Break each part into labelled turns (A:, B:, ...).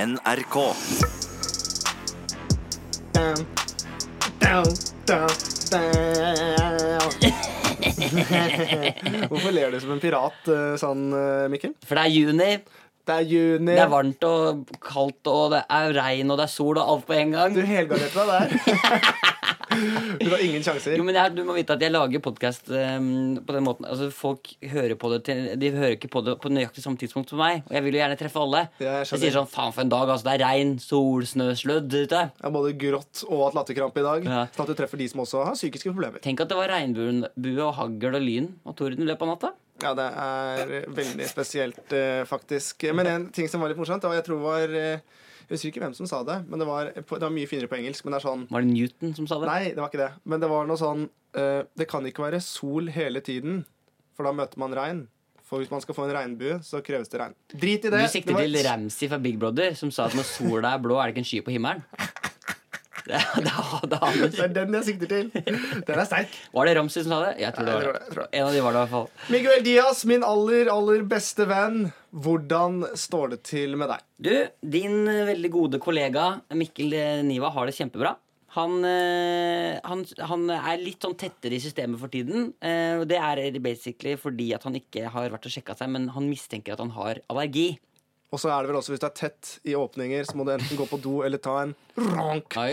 A: NRK.
B: down, down, down, down. Hvorfor ler du som en pirat eh, sånn, eh, Mikkel?
C: For det er juni,
B: Det er juni.
C: det er varmt og kaldt, og det er regn og det er sol og alt på en gang.
B: Du helgarderte deg der. Du har ingen sjanser.
C: Jo, men jeg, Du må vite at jeg lager podkast på den måten. Altså, Folk hører på det til, De hører ikke på det på nøyaktig samme tidspunkt som meg. Og jeg vil jo gjerne treffe alle.
B: Ja, jeg skjønner.
C: jeg sier sånn faen for en dag. altså Det er regn, sol, snø, sludd ute.
B: Det er både grått og hatt latterkrampe i dag.
C: sånn- Ja.
B: Sånn at du treffer de som også har psykiske problemer.
C: Tenk at det var regnbue og hagl og lyn og torden i løpet av natta.
B: Ja, det er veldig spesielt, eh, faktisk. Men en ting som var litt morsomt, det var jeg tror var eh, Jeg husker ikke hvem som sa det, men det var, det var mye finere på engelsk. Men det er sånn
C: Var det Newton som sa det?
B: Nei, det var ikke det. Men det var noe sånn eh, Det kan ikke være sol hele tiden, for da møter man regn. For hvis man skal få en regnbue, så kreves det regn. Drit i det.
C: Du sikter
B: det var-
C: til Ramsey fra Big Brother, som sa at når sola er blå, er det ikke en sky på himmelen. Det, det, det,
B: det er den jeg sikter til. Den er sterk.
C: var det Ramsey som sa det? Jeg tror det
B: Jeg tror det,
C: var
B: jeg tror det.
C: En av de var det, i hvert fall.
B: Miguel Diaz, min aller, aller beste venn. Hvordan står det til med deg?
C: Du, din eh, veldig gode kollega Mikkel eh, Niva har det kjempebra. Han, eh, han, han er litt sånn tettere i systemet for tiden. eh, og Det er basically fordi at han ikke har vært og sjekka seg, men han mistenker at han har allergi.
B: Og så er det vel også hvis du er tett i åpninger, så må du enten gå på do eller ta en ronk
C: Oi.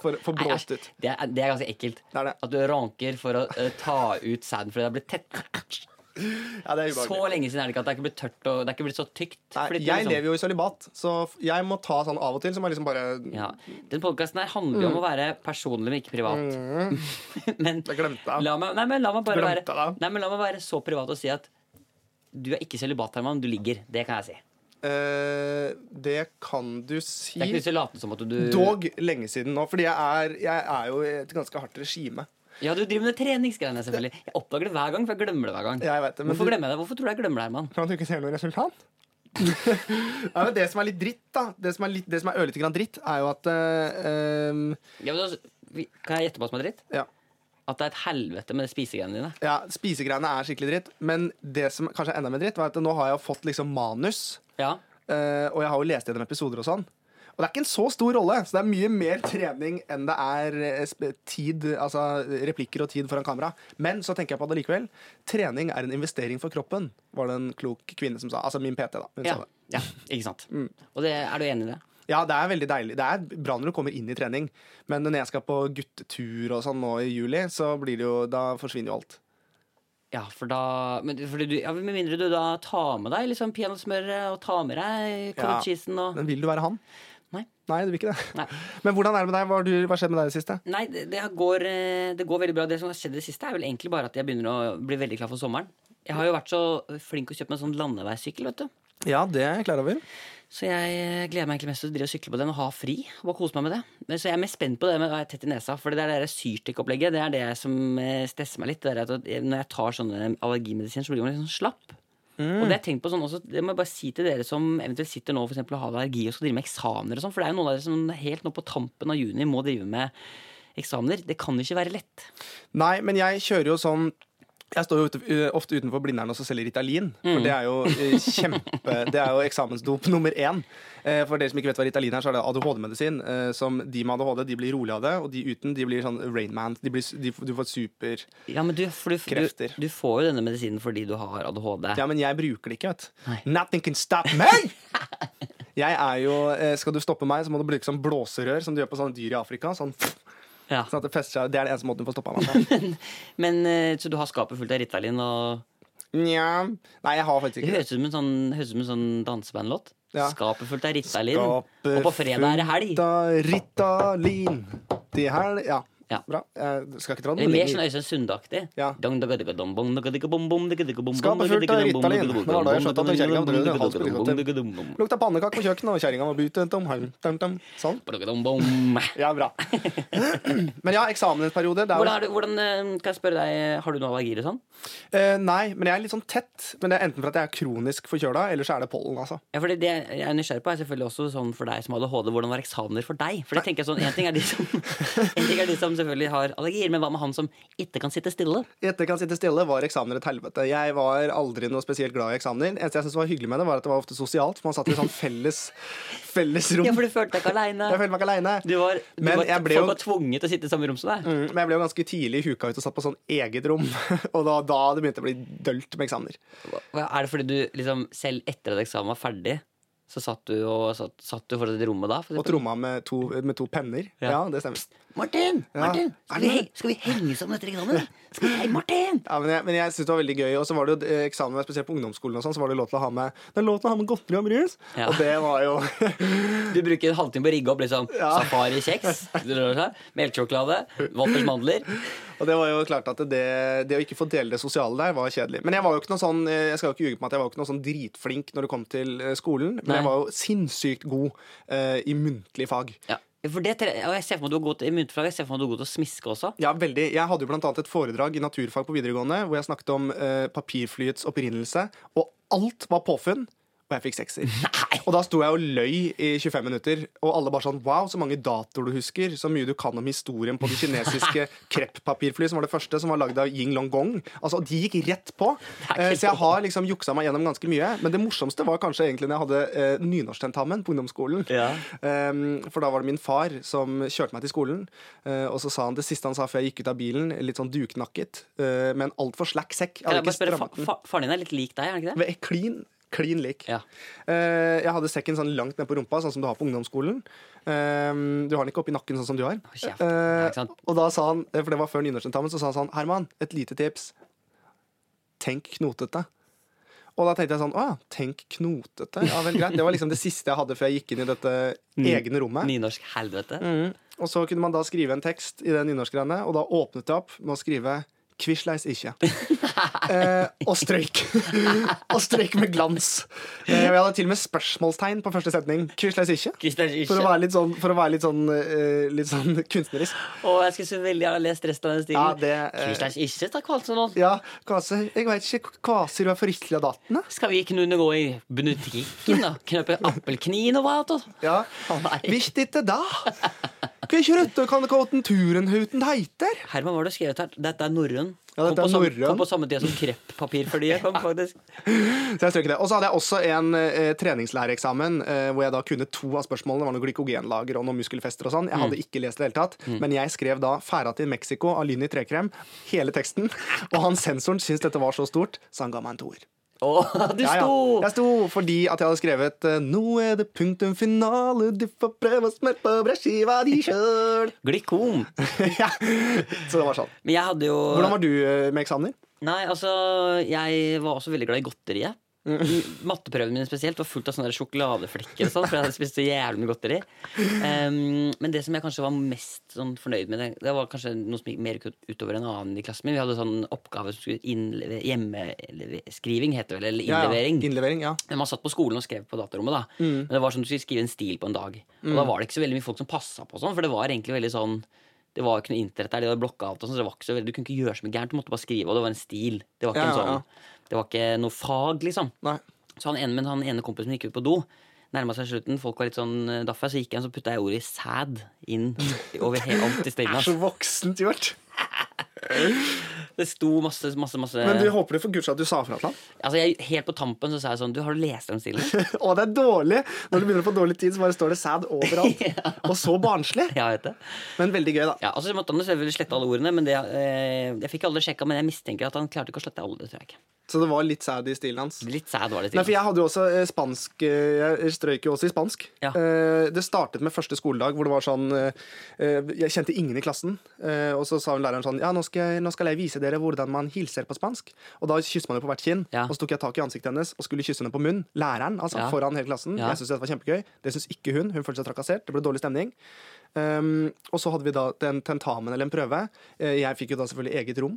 B: for å få
C: Nei,
B: blåst
C: æsj,
B: ut.
C: det, er, det er ganske ekkelt.
B: Det er det.
C: At du ranker for å eh, ta ut sæden fordi det er blitt tett.
B: Ja, det er
C: Så
B: ubehagelig.
C: lenge siden er det ikke at det er ikke blitt tørt og det er ikke blitt så tykt. liksom-
B: Nei, jeg
C: sånn.
B: lever jo i sølibat, så f- jeg må ta sånn av og til. Så må jeg liksom bare
C: ja. Den podkasten her handler
B: Mm.
C: jo om å være personlig, men ikke privat. men,
B: Jeg glemte det.
C: la meg, nei, men la meg bare
B: Mm. Glemte
C: være,
B: det.
C: nei, men la meg være så privat og si at du er ikke sølibat, Herman. Du ligger. Det kan jeg si.
B: Eh, det kan du
C: Det er ikke
B: si.
C: vits i å late som at du
B: Dog lenge siden nå, fordi jeg er, jeg er jo i et ganske hardt regime.
C: Ja, du driver med det treningsgreiene, selvfølgelig. Jeg oppdager det hver gang, for jeg glemmer det hver gang.
B: Jeg vet det, men
C: Hvorfor
B: du-
C: glemmer jeg det? Hvorfor tror du jeg glemmer det, Herman?
B: Kan du ikke se noe resultat? ja, men det som er litt dritt, da Det som er, litt, det som er ørlite grann dritt, er jo at eh, em,
C: Ja, men, altså, vi- kan jeg gjette på hva som er dritt?
B: ja,
C: At det er et helvete med de spisegreiene dine.
B: ja, spisegreiene er skikkelig dritt. Men det som kanskje er enda mer dritt, var at nå har jeg jo fått liksom manus.
C: Ja.
B: eh, og jeg har jo lest gjennom episoder og sånn. Og det er ikke en så stor rolle, så det er mye mer trening enn det er eh, sp- tid, altså replikker og tid foran kamera. Men så tenker jeg på det likevel. Trening er en investering for kroppen, var det en klok kvinne som sa. Altså min PT, da. Hun
C: Ja,
B: sa det.
C: ja, ikke sant.
B: Mm.
C: Og det, er du enig i det?
B: Ja, det er veldig deilig. Det er bra når du kommer inn i trening, men når jeg skal på guttetur og sånn nå i juli, så blir det jo, da forsvinner jo alt.
C: Ja, for da men, fordi du, ja, Med mindre du da tar med deg liksom peanøttsmøret og tar med deg
B: Ja.
C: cottage cheesen og
B: Men vil du være han?
C: Nei.
B: Nei, du vil ikke det.
C: Nei.
B: Men hvordan er det med deg? Hva har du- hva har skjedd med deg i det siste?
C: Nei, det, det, går, eh, det går veldig bra. Det som har skjedd i det siste, er vel egentlig bare at jeg begynner å bli veldig klar for sommeren. Jeg har jo vært så flink å kjøpe meg en sånn landeveissykkel, vet du.
B: Ja, det er jeg klar over.
C: Så jeg eh, gleder meg egentlig mest til å drive og sykle på den og ha fri. Og bare kose meg med det. Men, så jeg er mest spent på det med å være tett i nesa. For det der der syrtikkopplegget, det er det som eh, stresser meg litt. Det er at eh, når jeg tar sånne allergimedisiner, så blir man litt sånn slapp. Og det har jeg tenkt på sånn også, det må jeg bare si til dere som eventuelt sitter nå for eksempel, og har allergi og skal drive med eksamener og sånn. For det er jo noen av dere som helt nå på tampen av juni må drive med eksamener. Det kan ikke være lett.
B: Nei, men jeg kjører jo sånn jeg står jo ute, ø, ofte utenfor Blindern og så selger Ritalin. For det er jo ø, kjempe Det er jo eksamensdop nummer én. Eh, For dere som ikke vet hva Ritalin er, så er det ADHD-medisin. eh, Som de med ADHD de blir rolig av det, og de uten de blir sånn Rainman. De blir, s- de, f- du får super
C: Ja, men du, for du, du,
B: Krefter.
C: du får jo denne medisinen fordi du har ADHD.
B: Ja, men jeg bruker det ikke, vet du.
C: Nei.
B: Nothing can stop me! Jeg er jo, eh, Skal du stoppe meg, så må du bruke sånn blåserør som du gjør på sånne dyr i Afrika. Sånn,
C: Ja.
B: sånn at Det fester seg, det er den eneste måten du får stoppa meg på.
C: Men, eh, så du har skapet fullt av Ritalin og
B: Nja Nei, jeg har faktisk
C: Det
B: ikke det.
C: høres ut som en sånn, høres ut som en sånn dansebandlåt.
B: Ja.
C: Skapet fullt av Ritalin.
B: Skapet
C: Og på fredag er det helg.
B: Da Ritalin. De her, ja.
C: Ja.
B: Bra. Jeg skal ikke dra den.
C: Eller mer sånn Øystein Sunde-aktig.
B: Ja.
C: Dong, dong, dong, dong, dong, dong, dong, dong, dong, dong, dong, dong,
B: Skapet fullt av
C: dong, dong, dong,
B: Ritalin.
C: dong,
B: Det var da jeg skjønte at den kjerringa
C: dong,
B: drev
C: dong,
B: med halsbryt
C: dong,
B: og
C: dong,
B: tøm.
C: dong, dong,
B: Lukta pannekake på kjøkkenet, og kjerringa var butet om halm. Tam, tam. Sånn.
C: dong, dong, dong.
B: Ja, bra. Men ja, eksamensperiode. Det er jo,
C: Hvordan, er du, hvordan eh, kan jeg spørre deg, har du noen allergier og sånn?
B: Eh, nei, men jeg er litt sånn tett. Men det er enten for at jeg er kronisk forkjøla, eller så er det pollen, altså.
C: Ja, fordi Det jeg er nysgjerrig på, er selvfølgelig også sånn for deg som har ADHD, hvordan var eksamener for deg? For det tenker jeg sånn, En ting er de som, en ting er de som selvfølgelig har allergier, men hva med han som ikke kan sitte stille?
B: Etter kan sitte stille var eksamener et helvete. Jeg var aldri noe spesielt glad i eksamener. Eneste jeg syntes var hyggelig med det, var at det var ofte sosialt. For man satt i sånn felles, felles rom.
C: Ja, for du følte deg ikke aleine.
B: Jeg følte meg ikke aleine.
C: Du var, du
B: Men
C: var,
B: jeg ble
C: folk
B: jo-
C: var tvunget til å sitte i samme rom som deg.
B: Mm, Men jeg ble jo ganske tidlig huka ut og satt på sånn eget rom. Og da, da det begynte å bli dølt med eksamener.
C: Hva- Er det fordi du liksom, selv etter at eksamen var ferdig, så satt du, og, satt, satt du fortsatt i rommet da? for
B: Og
C: eksempel?
B: tromma med to, med to penner.
C: Ja.
B: Ja, det stemmer.
C: Martin!
B: Ja.
C: Martin!
B: Er det
C: Skal, vi,
B: noe?
C: he- skal vi henge sammen etter eksamen? Skal vi, hei, Martin!
B: Ja, men jeg, men jeg synes det var veldig gøy. Og så var det jo eh, eksamen, spesielt på ungdomsskolen, og sånn, så var det lov til å ha med Det er lov til å ha med godteri og brus!
C: Ja.
B: Og det var jo
C: Du bruker en halvtime på å rigge opp liksom,
B: Mm. Ja.
C: safarikjeks, melkesjokolade, Walters mandler.
B: Og det var jo klart at det, det å ikke få dele det sosiale der, var kjedelig. Men jeg var jo ikke noe sånn, eh, jeg skal jo ikke ljuge på meg at jeg var jo ikke noe sånn dritflink når det kom til eh, skolen, men
C: Nei.
B: jeg var jo sinnssykt god eh, i muntlig fag.
C: Ja. For det, tre- og jeg ser for meg at du er god til i myntflagg, jeg ser for meg at du er god til å smiske også.
B: Ja, veldig. Jeg hadde jo blant annet et foredrag i naturfag på videregående hvor jeg snakket om eh, papirflyets opprinnelse, og alt var påfunn. Og jeg fikk sekser. Og da sto jeg og løy i 25 minutter. Og alle bare sånn Wow, så mange datoer du husker. Så mye du kan om historien på det kinesiske kreppapirflyet, som var det første, som var lagd av Ying Long Gong. Altså, de gikk rett på.
C: Det er ikke
B: Eh, så jeg har liksom juksa meg gjennom ganske mye. Men det morsomste var kanskje egentlig når jeg hadde eh, nynorsktentamen på ungdomsskolen.
C: Ja.
B: Um, for da var det min far som kjørte meg til skolen. eh, og så sa han det siste han sa før jeg gikk ut av bilen, litt sånn duknakket, eh, med en altfor slack sekk. Jeg
C: Kan
B: hadde
C: jeg bare
B: ikke
C: spørre,
B: strammet
C: fa
B: den.
C: fa Faren din er litt lik deg, er han ikke det?
B: Ve- Klin, klin lik.
C: Ja.
B: Eh, jeg hadde sekken sånn langt ned på rumpa, sånn som du har på ungdomsskolen. Eh, du har den ikke oppi nakken, sånn som du har.
C: Å, kjeft.
B: Eh,
C: Ja, ikke sant?
B: og da sa han, eh, for det var før nynorsktentamen, så sa han sånn Herman, et lite tips. Tenk knotete. Og da tenkte jeg sånn, å ja, tenk knotete. Ja vel, greit. Det var liksom det siste jeg hadde før jeg gikk inn i dette egne rommet.
C: Nynorsk helvete.
B: mm. Og så kunne man da skrive en tekst i den nynorskgreiene, og da åpnet det opp med å skrive Quisleis ikke. Eh, og strøyk. og strøyk med glans. Eh, og jeg hadde til og med spørsmålstegn på første setning. Quisleis ikke.
C: Kristian Kirche.
B: For å være litt sånn, for å være litt sånn, eh, litt sånn kunstnerisk.
C: Å, jeg skulle så veldig gjerne lest resten av den stilen.
B: Ja, det, eh,
C: Kristian Kirche, takk for alt sånn.
B: Ja, kvase, jeg veit ikke kvaser du er forrykla dattene.
C: Skal vi kunne gå i butikken og knøpe appelknin og sånn? hva? da?
B: Ja.
C: Å, nei.
B: Visst ikke da. Kan ikke røtte kan det kåten turen huten heiter.
C: Herman, hva har du skrevet her? Dette er norrøn.
B: Ja, dette
C: kom, på
B: er
C: samme-
B: norrøn.
C: kom på samme tid som kreppapirflyet. kom faktisk.
B: Så jeg strøk det. Og så hadde jeg også en eh, treningslæreeksamen eh, hvor jeg da kunne to av spørsmålene. Det var noe glykogenlager og noen muskelfester og sånn. Jeg
C: Mm.
B: hadde ikke lest det i det hele tatt. Men jeg skrev da 'Færa til Mexico' av Lynni Trekrem. Hele teksten. Og han sensoren syntes dette var så stort, så han ga meg en toer.
C: Å, du
B: Ja, ja.
C: sto!
B: Jeg sto fordi at jeg hadde skrevet eh, 'Nå er det punktum finale, du får prøve å smøre på brødskiva di sjøl'.
C: Glykom.
B: ja. Så det var sånn.
C: Men jeg hadde jo
B: Hvordan var du eh, med eksamener?
C: Nei, altså, jeg var også veldig glad i godteriet. Matteprøven min spesielt var fullt av sånne der sjokoladeflekker. Og sånn, for jeg hadde spist så jævlig mye godteri Ehm, Men det som jeg kanskje var mest sånn fornøyd med, det, det var kanskje noe som gikk mer ut- utover en annen i klassen min. Vi hadde sånn oppgave som skulle innleve, hjemmeskriving, heter det vel, eller
B: Ja,
C: innlevering.
B: ja. Innlevering, ja.
C: Men man satt på skolen og skrev på datarommet. da
B: Mm.
C: Men det var sånn du skulle skrive en stil på en dag. Og da var det ikke så veldig mye folk som passa på, og sånn for det var egentlig veldig sånn Det var ikke noe internett der, de hadde blokka alt. Og sånn, så det var ikke så veldig, du kunne ikke gjøre så mye gærent, du måtte bare skrive, og det var en stil. Det var ikke,
B: Ja, ja,
C: en
B: ja.
C: sånn, det var ikke noe fag, liksom.
B: Nei.
C: Så han ene, men han ene kompisen gikk ut på do. Nærma seg slutten, folk var litt sånn eh, daffa, så gikk jeg inn, så putta jeg ordet 'sæd' inn over he- alt i
B: Det
C: stillinga.
B: er så voksent gjort.
C: Det sto masse, masse, masse
B: Men du håper du for guds skyld at du sa fra til han.
C: Altså, jeg, Helt på tampen så sa jeg sånn Du, har du lest den stilen?
B: Og det er dårlig! Når du begynner å få dårlig tid, så bare står det sad overalt. Og så barnslig!
C: Ja, vet det.
B: Men veldig gøy, da.
C: Ja, altså måtte han selvfølgelig slette alle ordene, men det, eh, jeg fikk aldri sjekka, men jeg mistenker at han klarte ikke å slette alle. det tror jeg ikke.
B: Så det var litt sad i stilen hans.
C: Litt sad var det
B: Nei,
C: til.
B: for Jeg hadde jo også eh, spansk eh, Jeg strøyk jo også i spansk.
C: Ja.
B: Eh, Det startet med første skoledag, hvor det var sånn eh, eh, Jeg kjente ingen i klassen. eh, Og så sa hun læreren sånn Ja, nå skal, jeg, nå skal jeg vise dere hvordan man hilser på spansk. Og da kysser man jo på hvert kinn.
C: Ja.
B: Og så tok jeg tak i ansiktet hennes og skulle kysse henne på munnen. Læreren, altså,
C: Ja.
B: foran hele klassen.
C: Ja.
B: Jeg syntes dette var kjempegøy. Det syntes ikke hun. Hun følte seg trakassert. Det ble dårlig stemning. Um, og så hadde vi da en tentamen eller en prøve. Eh, Jeg fikk jo da selvfølgelig eget rom.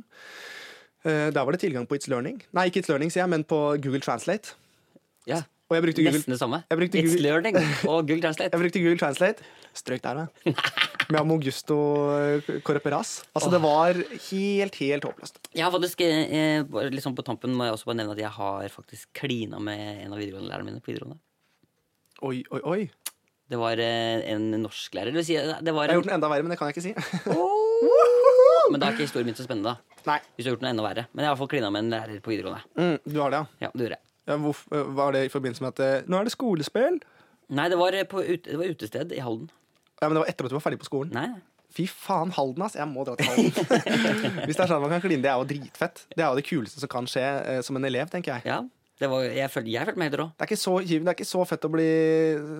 B: Eh, Der var det tilgang på It's Learning. Nei, ikke It's Learning, sier jeg, men på Google Translate.
C: Ja,
B: Og jeg brukte Google,
C: Nesten det samme.
B: Jeg brukte
C: It's
B: Google-
C: learning og Google Translate.
B: jeg brukte Google Translate. Strøk der, da. Med Amogusto Corperas. Altså, det var helt, helt håpløst.
C: Jeg har faktisk, eh, bare litt sånn på tampen må jeg også bare nevne at jeg har faktisk klina med en av videregående lærerne mine på videregående.
B: Oi, oi, oi.
C: Det var eh, en norsklærer. Det vil si, eh, det var
B: Jeg har
C: en,
B: gjort den enda verre, men det kan jeg ikke si.
C: men da er ikke historien min så spennende, da.
B: Nei.
C: Hvis du har gjort noe enda verre. Men jeg har i hvert fall klina med en lærer på videregående.
B: Mm, du har det, ja.
C: Ja, det gjorde jeg.
B: ja hvorf- var det i forbindelse med at eh, Nå er det skolespill.
C: Nei, det var, eh, på ut, det var utested i Halden.
B: Ja, men Det var etter at du var ferdig på skolen.
C: Nei, nei.
B: Fy faen, Halden, ass. Jeg må dra til Halden. Hvis det er sånn man kan kline, det er jo dritfett. Det er jo det kuleste som kan skje eh, som en elev, tenker jeg.
C: Ja, det var, jeg, følte, jeg følte meg helt rå.
B: Det er, ikke så, giv- det er ikke så fett å bli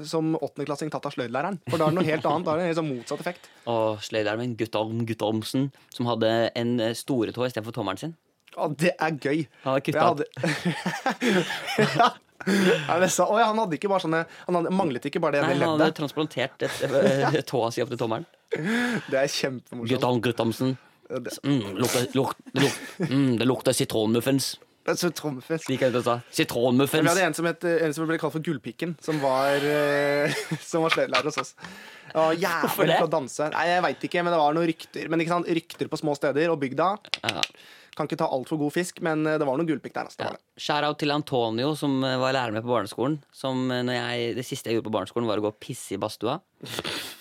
B: som åttendeklassing tatt av sløydlæreren. For da er det noe helt annet. Da er det en helt sånn motsatt effekt.
C: Og sløyderen min, Guttorm Guttormsen, som hadde en eh, storetå istedenfor tommelen sin.
B: Å, det er gøy.
C: Han
B: Jeg
C: hadde kutta opp.
B: hadde... ja. Ja, det sa- Å, ja, han hadde ikke bare sånne Han hadde, manglet ikke bare det
C: Nei,
B: ene
C: han hadde
B: leddet.
C: transplantert et, eh, tåa si opp til tommelen.
B: Det er kjempemorsomt.
C: Guttorm Guttormsen. Mm, lukter, luk, det, luk, mm, det lukter sitronmuffins.
B: Det er så trommefest.
C: Gikk jeg ut og sa.
B: Vi
C: Sitronmuffins.
B: hadde en som, het, en som ble kalt for Gullpikken, som var, eh, som var sløydlærer hos oss. Å, jævel
C: det?
B: til å danse. Nei, jeg veit ikke, men det var noen rykter. Men ikke sant, rykter på små steder og bygda.
C: Ja.
B: Kan ikke ta altfor god fisk, men eh, det var noe gullpikk der. Altså, det var det.
C: Shout-out til Antonio, som eh, var lærer med på barneskolen. Som eh, når jeg, Det siste jeg gjorde på barneskolen, var å gå og pisse i badstua.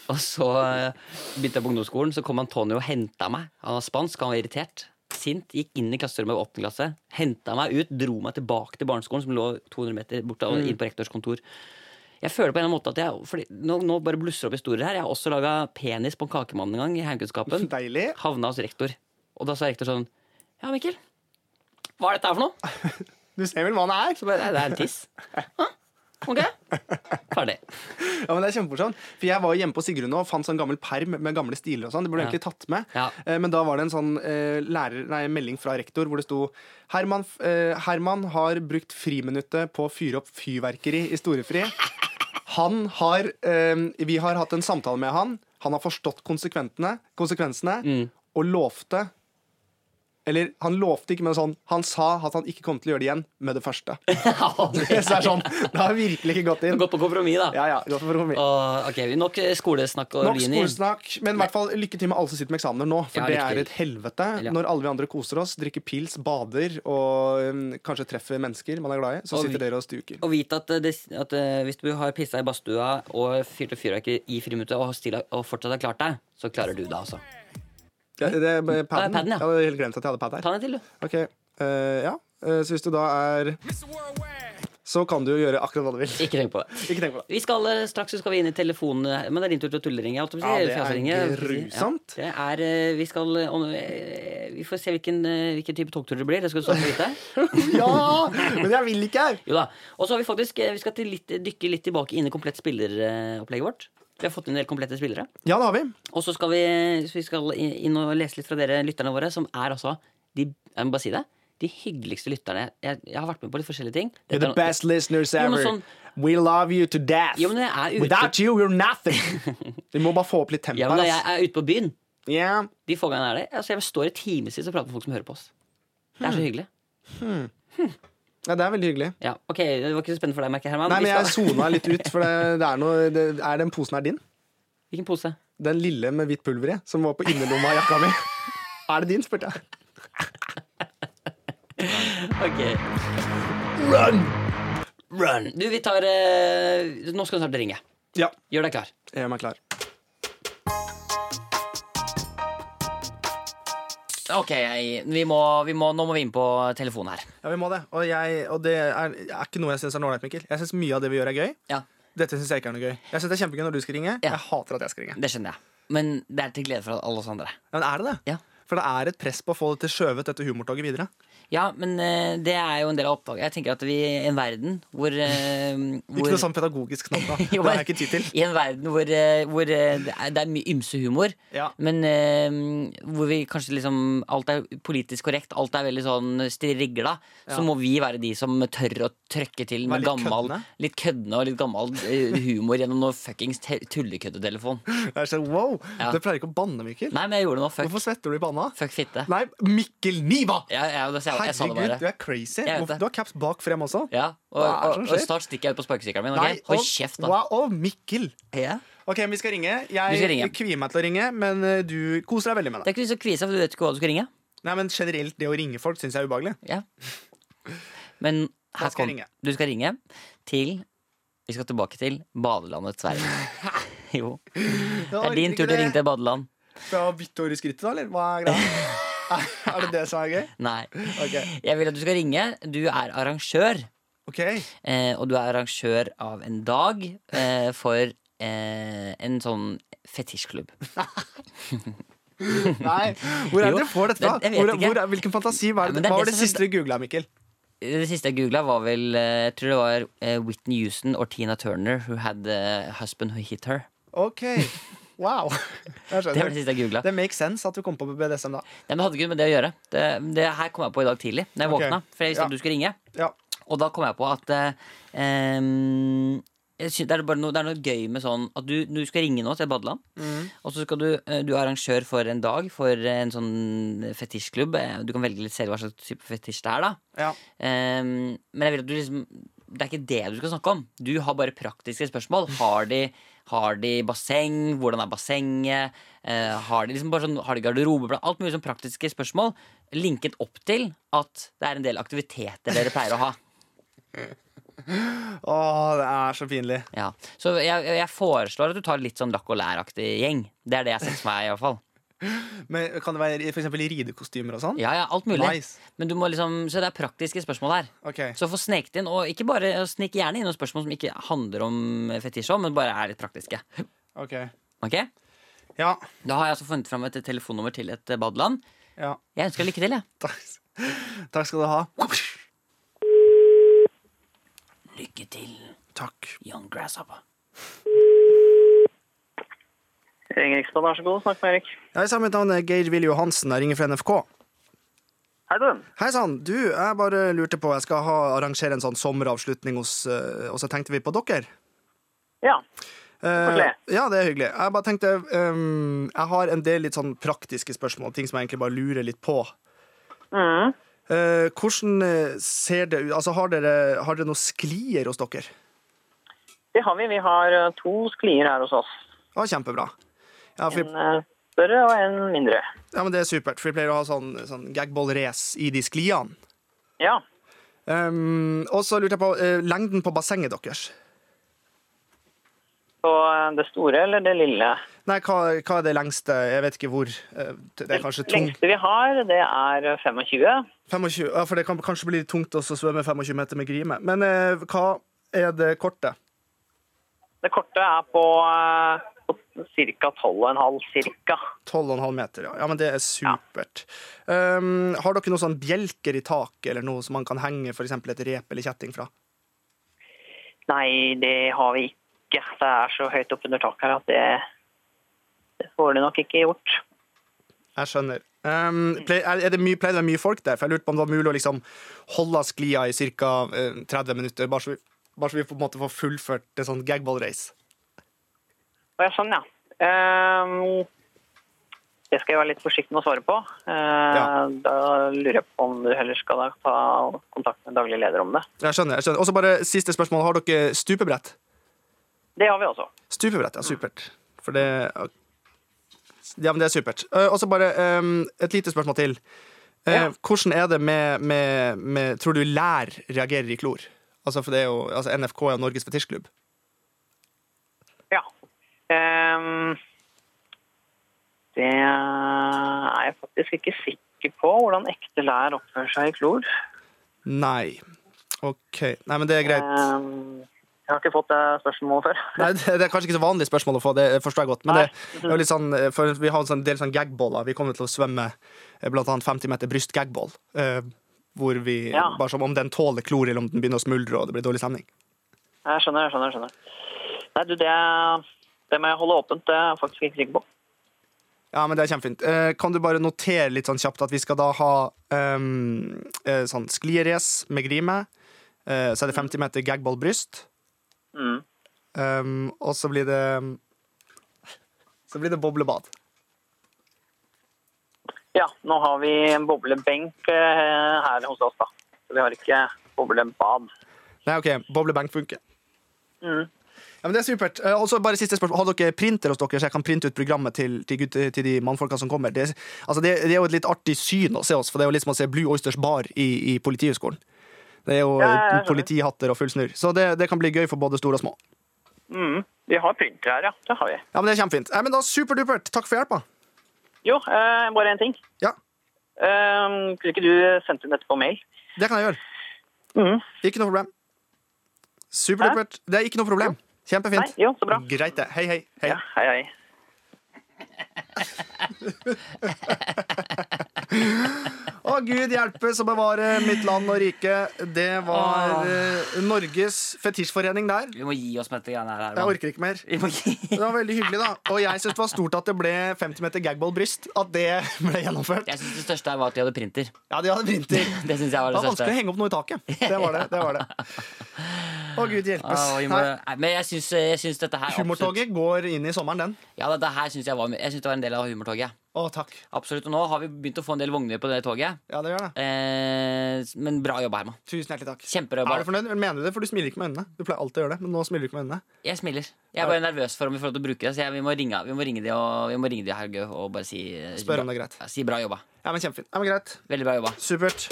C: Og så eh, begynte jeg på ungdomsskolen, så kom Antonio og henta meg. Han var spansk, han var irritert. Sint. Gikk inn i klasserommet i åttende klasse. Henta meg ut, dro meg tilbake til barneskolen, som lå 200 meter borte, og inn på rektors kontor. Jeg føler på en eller annen måte at jeg, fordi nå, nå bare blusser opp historier her. Jeg har også laga penis på en kakemann en gang i heimkunnskapen.
B: Deilig.
C: Havna hos rektor. Og da sa rektor sånn Ja, Mikkel. Hva er dette her for noe?
B: Du ser vel hva han er?
C: Så bare, «Nei, det er en tiss. Hæ? Ok. Ferdig.
B: Ja, men det er kjempemorsomt. For jeg var jo hjemme på Sigrun nå og fant sånn gammel perm med gamle stiler og sånn. Det burde
C: Ja.
B: egentlig tatt med.
C: Ja.
B: Eh, Men da var det en sånn eh, lærer, nei, melding fra rektor hvor det sto Herman, f- eh, Herman har brukt friminuttet på å fyre opp fyrverkeri i storefri. Han har eh, Vi har hatt en samtale med han. Han har forstått konsekventene, konsekvensene
C: Mm.
B: og lovte Eller han lovte ikke, men sånn Han sa at han ikke kom til å gjøre det igjen med det første.
C: Så
B: Så det er sånn, Det har virkelig ikke gått inn.
C: Gå på kompromiss, da.
B: Ja, ja, godt for å komme inn.
C: Og, ok, Nok eh, skolesnakk og
B: Nok
C: vin i.
B: skolesnakk, men i hvert fall lykke til med alle som sitter med eksamener nå. For
C: Ja,
B: det
C: lykke
B: er
C: til.
B: et helvete
C: Ja.
B: når alle vi andre koser oss, drikker pils, bader og øhm, kanskje treffer mennesker man er glad i. Så
C: Og vi-
B: sitter dere og stuker.
C: Og vite at, eh, det, at eh, hvis du har pissa i badstua og fyrt opp fyrverkeri i friminuttet og, stilla- og fortsatt har klart deg, så klarer du det, altså.
B: Ja, det er med padden.
C: padden, ja.
B: Jeg hadde helt glemt at jeg hadde pad her.
C: Ta den til, du.
B: Ok, øh, ja. Eh, Så hvis du da er Så kan du jo gjøre akkurat hva du vil.
C: Ikke tenk på det.
B: Ikke tenk på det.
C: Vi skal, eh, Straks så skal vi inn i telefonen eh, Men det er din tur til å tulleringe. jeg holdt på å si,
B: Ja, det er
C: fjaseringe, jeg holdt på å si.
B: grusomt.
C: Ja, det er, eh, vi, skal, eh, om, eh, vi får se hvilken, eh, hvilken type togtur det blir. Det skal du snart få vite.
B: Ja! Men jeg vil ikke her!
C: Jo da. Og så har vi faktisk eh, Vi skal til litt, dykke litt tilbake inn i komplett spilleropplegget vårt. Vi har fått inn en del komplette spillere.
B: Ja, det har vi.
C: Og så skal vi, så vi skal inn og lese litt fra dere lytterne våre, som er altså de, Jeg må bare si det. De hyggeligste lytterne. Jeg, jeg har vært med på litt forskjellige ting.
B: You're
C: Dette
B: the
C: er no-
B: best listeners
C: Jo, men
B: ever.
C: sånn-
B: We love you to death.
C: Jo, men når jeg er ute-
B: Without you, you're nothing. Vi må bare få opp litt tempo
C: ja, men
B: her.
C: når
B: ass.
C: jeg er ute på byen,
B: Yeah.
C: de få gangene er det altså Jeg står i timevis og prater med folk som hører på oss. Det
B: Hmm.
C: er så hyggelig.
B: Ja, det er veldig hyggelig.
C: Ja, ok, Det var ikke så spennende for deg, merker jeg, Herman.
B: Nei,
C: Vi
B: men jeg
C: skal-
B: sona litt ut, for det, det er noe det, Er den posen her din?
C: Hvilken pose?
B: Den lille med hvitt pulver i, som var på innerlomma av jakka mi. Er det din, spurte jeg.
C: Ok Run! Run. Du, vi tar eh, Nå skal du snart ringe.
B: Ja,
C: Gjør deg klar.
B: jeg gjør meg klar.
C: Ok, jeg, vi må, vi må, nå må vi inn på telefonen her.
B: Ja, vi må det. Og, jeg, og det er, er ikke noe jeg syns er noe ålreit, Mikkel. Jeg syns mye av det vi gjør, er gøy.
C: Ja,
B: Dette syns jeg ikke er noe gøy. Jeg synes det er kjempegøy når du skal ringe.
C: Ja. Mm.
B: Jeg hater at jeg skal ringe.
C: Det skjønner jeg. Men det er til glede for alle oss andre.
B: Ja, men er det det?
C: Ja,
B: For det er et press på å få det til skjøvet dette humortoget videre.
C: ja men eh, det er jo en del av oppdraget. Jeg tenker at vi i en verden hvor, eh, hvor
B: Ikke noe sånn pedagogisk knapp, da. Det
C: Jo,
B: har
C: men-
B: jeg ikke tid til.
C: I en verden hvor, eh, hvor eh, det er, det er mye ymse humor,
B: Ja.
C: men eh, hvor vi kanskje liksom Alt er politisk korrekt, alt er veldig sånn strigla, så må vi være de som tør å trøkke til med
B: Være litt
C: gammel,
B: køddende.
C: litt køddende og litt gammel eh, humor gjennom noe fuckings te- tullekøddetelefon.
B: Jeg er sånn, wow,
C: Ja.
B: Du pleier ikke å banne, Mikkel.
C: Nei, men jeg gjorde det nå. Fuck,
B: Hvorfor svetter du i panna?
C: fuck fitte.
B: Nei, Mikkel Niva!
C: Ja, ja, det- jeg, jeg, sa det
B: Herregud, du
C: bare.
B: er crazy.
C: Jeg vet
B: Hvorfor-
C: det.
B: Du har caps bak frem også.
C: Ja, og,
B: Hva er det
C: og,
B: som
C: og
B: skjer?
C: snart stikker jeg ut på sparkesykkelen min. ok? Hold kjeft, da.
B: wow, og Mikkel.
C: Ja.
B: Ok, men Vi skal ringe. Jeg
C: Vi skal ringe.
B: kvier meg til å ringe, men eh, du koser deg veldig med
C: Det
B: det.
C: er ikke så kvisa, for du vet ikke hva du skal ringe.
B: Nei, men Generelt, det å ringe folk syns jeg er ubehagelig.
C: Ja. Men
B: skal
C: her
B: jeg
C: kom-
B: ringe.
C: du skal ringe til Vi skal tilbake til badelandet Sverige. jo. Det
B: Ja,
C: er din tur til å ringe til badeland.
B: Skal jeg ha bitte år i skrittet, da, eller? Hva er greia? er det det som er gøy?
C: Nei.
B: Ok.
C: Jeg vil at du skal ringe. Du er arrangør.
B: Ok.
C: Eh, og du er arrangør av en dag eh, for eh, en sånn fetisjklubb.
B: Nei. Hvor er
C: Jo,
B: det du får dette fra?
C: det- jeg vet
B: Hvor,
C: ikke.
B: hvor, er- hvilken fantasi? Hva, er
C: Nei, men
B: det,
C: det er
B: hva var
C: det
B: det
C: som-
B: siste du googla, Mikkel?
C: Det siste jeg googla, var vel eh, Jeg tror det var eh, Whitney Houston og Tina Turner who had a husband who hit her.
B: Ok. Wow. Jeg
C: Det var det
B: skjønner.
C: siste jeg googla.
B: Det makes sense at du kom på BDSM da.
C: Nei, men det hadde ikke noe med det å gjøre. Det, det her kom jeg på i dag tidlig. Når jeg
B: Ok.
C: våkna, for jeg visste
B: Ja.
C: at du skulle ringe.
B: Ja.
C: Og da kom jeg på at eh, em, jeg sy- det, er bare noe, det er noe gøy med sånn at du, du skal ringe nå til Badeland.
B: Mm.
C: Og så skal du, eh, du er arrangør for en dag for en sånn fetisjklubb. Eh, Du kan velge litt selv hva slags type fetisj det er, da.
B: ja.
C: Em, men jeg vil at du liksom det er ikke det du skal snakke om. Du har bare praktiske spørsmål. Har de, har de basseng? Hvordan er bassenget? Eh, har de liksom bare sånn, har de garderobeplan? Alt mulig sånn praktiske spørsmål linket opp til at det er en del aktiviteter dere pleier å ha.
B: Å, det er så pinlig.
C: Ja. Så jeg, jeg foreslår at du tar litt sånn lakk og lær-aktig gjeng. Det er det jeg ser for meg. i hvert fall
B: Men kan det være i- for eksempel i ridekostymer og sånn?
C: Ja, ja, alt mulig.
B: Nice.
C: Men du må liksom, Så det er praktiske spørsmål her.
B: Ok.
C: Så få sneket inn, og ikke bare eh, snik gjerne inn noen spørsmål som ikke handler om fetisj, men bare er litt praktiske.
B: ok.
C: Ok?
B: Ja.
C: Da har jeg altså funnet fram et telefonnummer til et eh, badeland.
B: ja.
C: Jeg ønsker lykke til, jeg.
B: Takk. Takk skal du ha.
C: Lykke til,
B: Takk.
C: young grasshopper.
A: Ringeriksbanen, vær så god. Snakk med Erik.
B: Hei sann, mitt navn er Geir Willy Johansen. Jeg ringer fra NRK.
A: Hei, du.
B: Hei sann, du, jeg bare lurte på Jeg skal ha, arrangere en sånn sommeravslutning hos eh, Og så tenkte vi på dere.
A: Ja.
B: Eh,
A: Koselig.
B: ja, det er hyggelig. Jeg bare tenkte ehm, Jeg har en del litt sånn praktiske spørsmål, ting som jeg egentlig bare lurer litt på.
A: Mhm.
B: Eh, hvordan eh, ser det ut Altså, har dere, har dere noen sklier hos dere?
A: Det har vi. Vi har eh, to sklier her hos oss.
B: Ja, kjempebra. Ja, for,
A: En eh, større og en mindre.
B: ja, men det er supert, for vi pleier å ha sånn, sånn gagball-race i de skliene.
A: Ja.
B: Ehm, og så lurte jeg på eh, lengden på bassenget deres.
A: Så eh, det store eller det lille?
B: Nei, hva, hva er det lengste? Jeg vet ikke hvor. Eh, Det er kanskje tungt.
A: lengste vi har, det er eh, 25.
B: 25, ja, for det kan kanskje bli litt tungt også å svømme 25 meter med grime. Men eh, hva er det korte?
A: Det korte er på, eh, på ca. 12,5 ca.
B: 12,5 meter, ja. ja. Men det er supert. Um, har dere noen sånn bjelker i taket, eller noe som man kan henge for eksempel et rep eller kjetting fra?
A: Nei, det har vi ikke. Det er så høyt opp under taket her at det, det får du nok ikke gjort.
B: Jeg skjønner. Um, ple- er er det mye, pleier det å være mye folk der? For jeg lurte på om det var mulig å liksom holde sklia i ca. 30 minutter, bare så vi, bare så vi på en måte får fullført en sånn gagball-race.
A: Og jeg, sånn, ja. Ehm, det skal jeg være litt forsiktig med å svare på. Eh,
B: Ja.
A: Da lurer jeg på om du heller skal da ta kontakt med daglig leder om det.
B: Jeg skjønner. jeg skjønner. Og så bare siste spørsmål. Har dere stupebrett?
A: Det har vi også.
B: Stupebrett, ja, supert. For det Ja, men det er supert. Eh, Og så bare eh, et lite spørsmål til. Eh,
A: Ja.
B: Hvordan er det med, med, med Tror du lær reagerer i klor? Altså, for det er jo, altså NFK er jo Norges fetisjklubb.
A: Ja. Ehm, det er jeg faktisk ikke sikker på, hvordan ekte lær oppfører seg i klor.
B: Nei. OK. Nei, men det er greit.
A: Ehm, jeg har ikke fått det spørsmålet før.
B: Nei, det det er kanskje ikke så vanlig spørsmål å få, det forstår jeg godt. Men det, det er jo litt sånn, eh, for vi har en sånn del sånn gagballer. Vi kommer til å svømme eh, blant annet 50 meter brystgagball. eh, Hvor vi,
A: Ja.
B: bare som om den tåler klor, eller om den begynner å smuldre og det blir dårlig stemning.
A: Jeg skjønner, jeg skjønner. jeg skjønner. Nei, du, det, det må jeg holde åpent. Det er jeg faktisk ikke sikker på.
B: Ja, men det er kjempefint. Eh, kan du bare notere litt sånn kjapt at vi skal da ha ehm, eh, sånn sklierace med grime. Eh, så er det 50 meter gagball bryst.
A: Mm.
B: Ehm, og så blir det Så blir det boblebad.
A: Ja, nå har vi en boblebenk eh, her hos oss, da. Så vi har ikke boblebad.
B: Nei, OK. Boblebenk funker.
A: Mm.
B: Ja, men Det er supert. Eh, og så bare siste spørsmål. Har dere printer hos dere, så jeg kan printe ut programmet til, til, gutte, til de mannfolka som kommer? Det, er- altså det, det er jo et litt artig syn å se oss, for det er jo litt som å se Blue Oysters Bar i, i Politihøgskolen. Det er jo
A: Ja, ja, ja,
B: politihatter og full snurr. Så det, det kan bli gøy for både store og små.
A: Mm. Vi har printer her, ja. Det har vi.
B: Ja, men Det er kjempefint. Nei, men da Superdupert. Takk for hjelpa.
A: Jo, eh, bare én ting.
B: Ja,
A: Eh, kunne ikke du sendt inn dette på mail?
B: det kan jeg gjøre.
A: Mhm.
B: Ikke noe problem. Superdupert. Det er ikke noe problem. Kjempefint.
A: Nei, jo, så bra.
B: Greit, det. Hei, hei. hei.
A: Ja, hei, hei.
B: Å, Gud hjelpes å bevare mitt land og rike. Det var
C: Åh.
B: eh, Norges fetisjforening der.
C: Vi må gi oss med dette greiene her.
B: Jeg
C: Herman.
B: orker ikke mer.
C: Vi må gi...
B: Det var veldig hyggelig, da. Og jeg syns det var stort at det ble 50 meter gagball-bryst. At det ble gjennomført.
C: Jeg synes det største her var at de hadde printer.
B: Ja, de hadde printer.
C: Det synes jeg var
B: Det
C: det
B: var vanskelig å
C: største.
B: henge opp noe i taket. Det var det. det, var det. Å, gud hjelpes.
C: Å, vi må...
B: Nei,
C: Nei, Men jeg synes, eh, jeg synes dette her absolutt...
B: Humortoget går inn i sommeren, den.
C: Ja, dette her synes jeg, var... jeg synes det var en del av humortoget.
B: Å, takk.
C: Absolutt. Og nå har vi begynt å få en del vogner på det toget.
B: Ja, det gjør det.
C: Eh, men bra jobba, Herman.
B: Tusen hjertelig takk.
C: Kjempebra.
B: Er du fornøyd? Mener du det? For du smiler ikke med øynene. Du pleier alltid å gjøre det, men nå smiler du ikke med øynene.
C: Jeg smiler. Jeg er bare nervøs for om vi får lov til å bruke det. Så jeg, vi, må ringe, vi må ringe de og, vi må ringe de Helge og bare si eh,
B: Spør om det er greit.
C: Ja, Si bra jobba.
B: Ja, men kjempefint. Ja, men greit.
C: Veldig bra jobba.
B: Supert.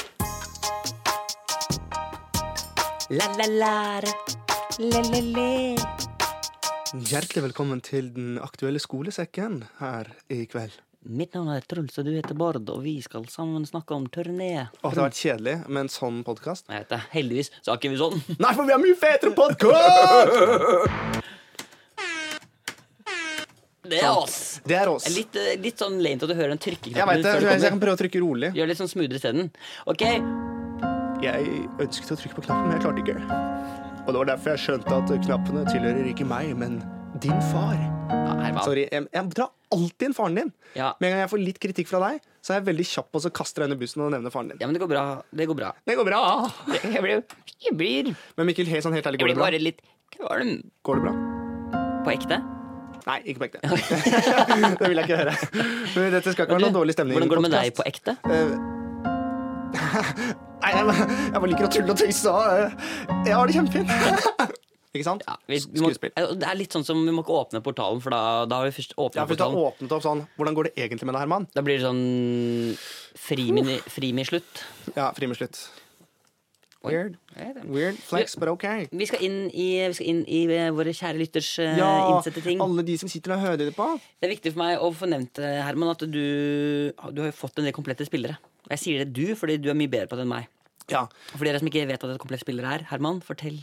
B: Hjertelig velkommen til den aktuelle skolesekken her i kveld.
C: Mitt navn er Truls, og du heter Bård, og vi skal sammen snakke om turné.
B: Å, det har vært kjedelig med en sånn podkast.
C: Jeg vet det. Heldigvis så har ikke vi sånn.
B: Nei, for vi har mye fetere podkast!
C: Sånn. Det er oss.
B: Det er oss. Jeg
C: Litt, eh, litt sånn lent at du hører den trykkeknappen.
B: vet det,
C: før du
B: jeg
C: kommer.
B: kan prøve å trykke rolig.
C: Gjør litt sånn smoothere isteden. Ok,
B: Jeg ønsket å trykke på knappen, men jeg klarte ikke. Og det var derfor jeg skjønte at knappene tilhører ikke meg, men din far.
C: ja, Herman.
B: Sorry, jeg, jeg drar alltid inn faren din.
C: Ja.
B: Med en gang jeg får litt kritikk fra deg, så er jeg veldig kjapp og så kaster jeg under bussen og nevner faren din.
C: Ja, men det går bra. Det går bra.
B: Det går bra.
C: Jeg blir, jeg blir, jeg
B: Men Mikkel, helt sånn helt ærlig, går
C: blir
B: det bra?
C: bare litt kvalm.
B: Går det bra?
C: På ekte.
B: Nei, ikke på ekte. det vil jeg ikke høre. Men dette skal ikke være noen dårlig stemning.
C: Hvordan går det med deg
B: podcast.
C: på ekte?
B: Nei, jeg, jeg bare liker å tulle og tøyse. og, eh, Jeg har det kjempefint. ikke sant?
C: Ja, vi, vi må,
B: Skuespill.
C: det er litt sånn som vi må ikke åpne portalen, for da, da har vi først åpnet
B: Ja, for Hvis du har
C: portalen.
B: åpnet opp sånn Hvordan går det egentlig med deg, Herman?
C: Da blir det sånn frimi frimi slutt.
B: Ja, fri med slutt.
C: Oi.
B: Weird.
C: Jeg vet det.
B: Weird flex, but okay.
C: Vi skal inn i, vi skal inn i eh, våre kjære lytters eh,
B: Ja,
C: innsette ting.
B: alle de som sitter og hører det på.
C: Det er viktig for meg å få nevnt, eh, Herman, at du, du har jo fått en del komplette spillere. Og jeg sier det du, fordi du er mye bedre på det enn meg.
B: Ja.
C: For dere som ikke vet at et komplett spiller er, Herman, fortell.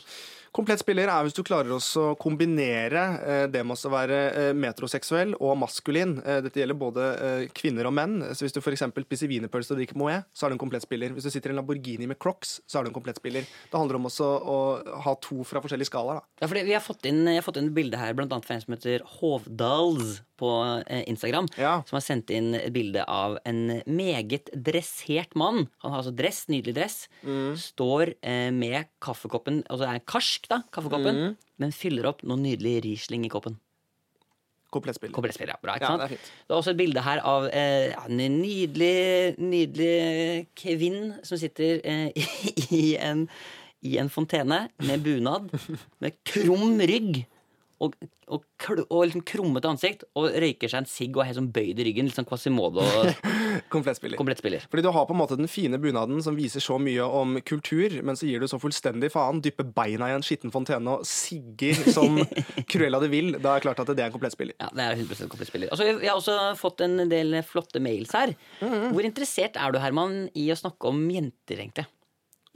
B: Komplett spiller er hvis du klarer også å kombinere eh, det med også å være eh, metroseksuell og maskulin. Eh, dette gjelder både eh, kvinner og menn. Så hvis du f.eks. spiser wienerpølse og drikker Moët, så er du en komplett spiller. Hvis du sitter i en Lamborghini med Crocs, så er du en komplett spiller. Det handler om også å ha to fra forskjellige skalaer. da.
C: Ja, fordi vi har fått inn, jeg har fått inn et bilde her, blant annet fra en som heter Hovdals på eh, Instagram.
B: Ja.
C: Som har sendt inn et bilde av en meget dressert mann. Han har altså dress, nydelig dress.
B: Mm.
C: Står eh, med kaffekoppen, altså det er karsk, da, kaffekoppen,
B: Mm.
C: men fyller opp noe nydelig Riesling i koppen.
B: Komplett spiller.
C: Komplettspill, ja. Bra, ikke
B: Ja,
C: sant?
B: det er fint.
C: Det er også et bilde her av eh, ja, en nydelig, nydelig kvinne som sitter eh, i, en, i en fontene med bunad, med krum rygg og, og, kl- og liksom krummete ansikt, og røyker seg en sigg og er helt sånn bøyd i ryggen. Litt sånn Quasimodo-komplettspiller.
B: Komplett spiller. Fordi du har på en måte den fine bunaden som viser så mye om kultur, men så gir du så fullstendig faen, dypper beina i en skitten fontene og sigger som Cruella de Vil. Da er det klart at det er en komplett spiller.
C: Ja, det er 100 komplettspiller. Altså, vi har også fått en del flotte mails her. Hvor interessert er du, Herman, i å snakke om jenter, egentlig?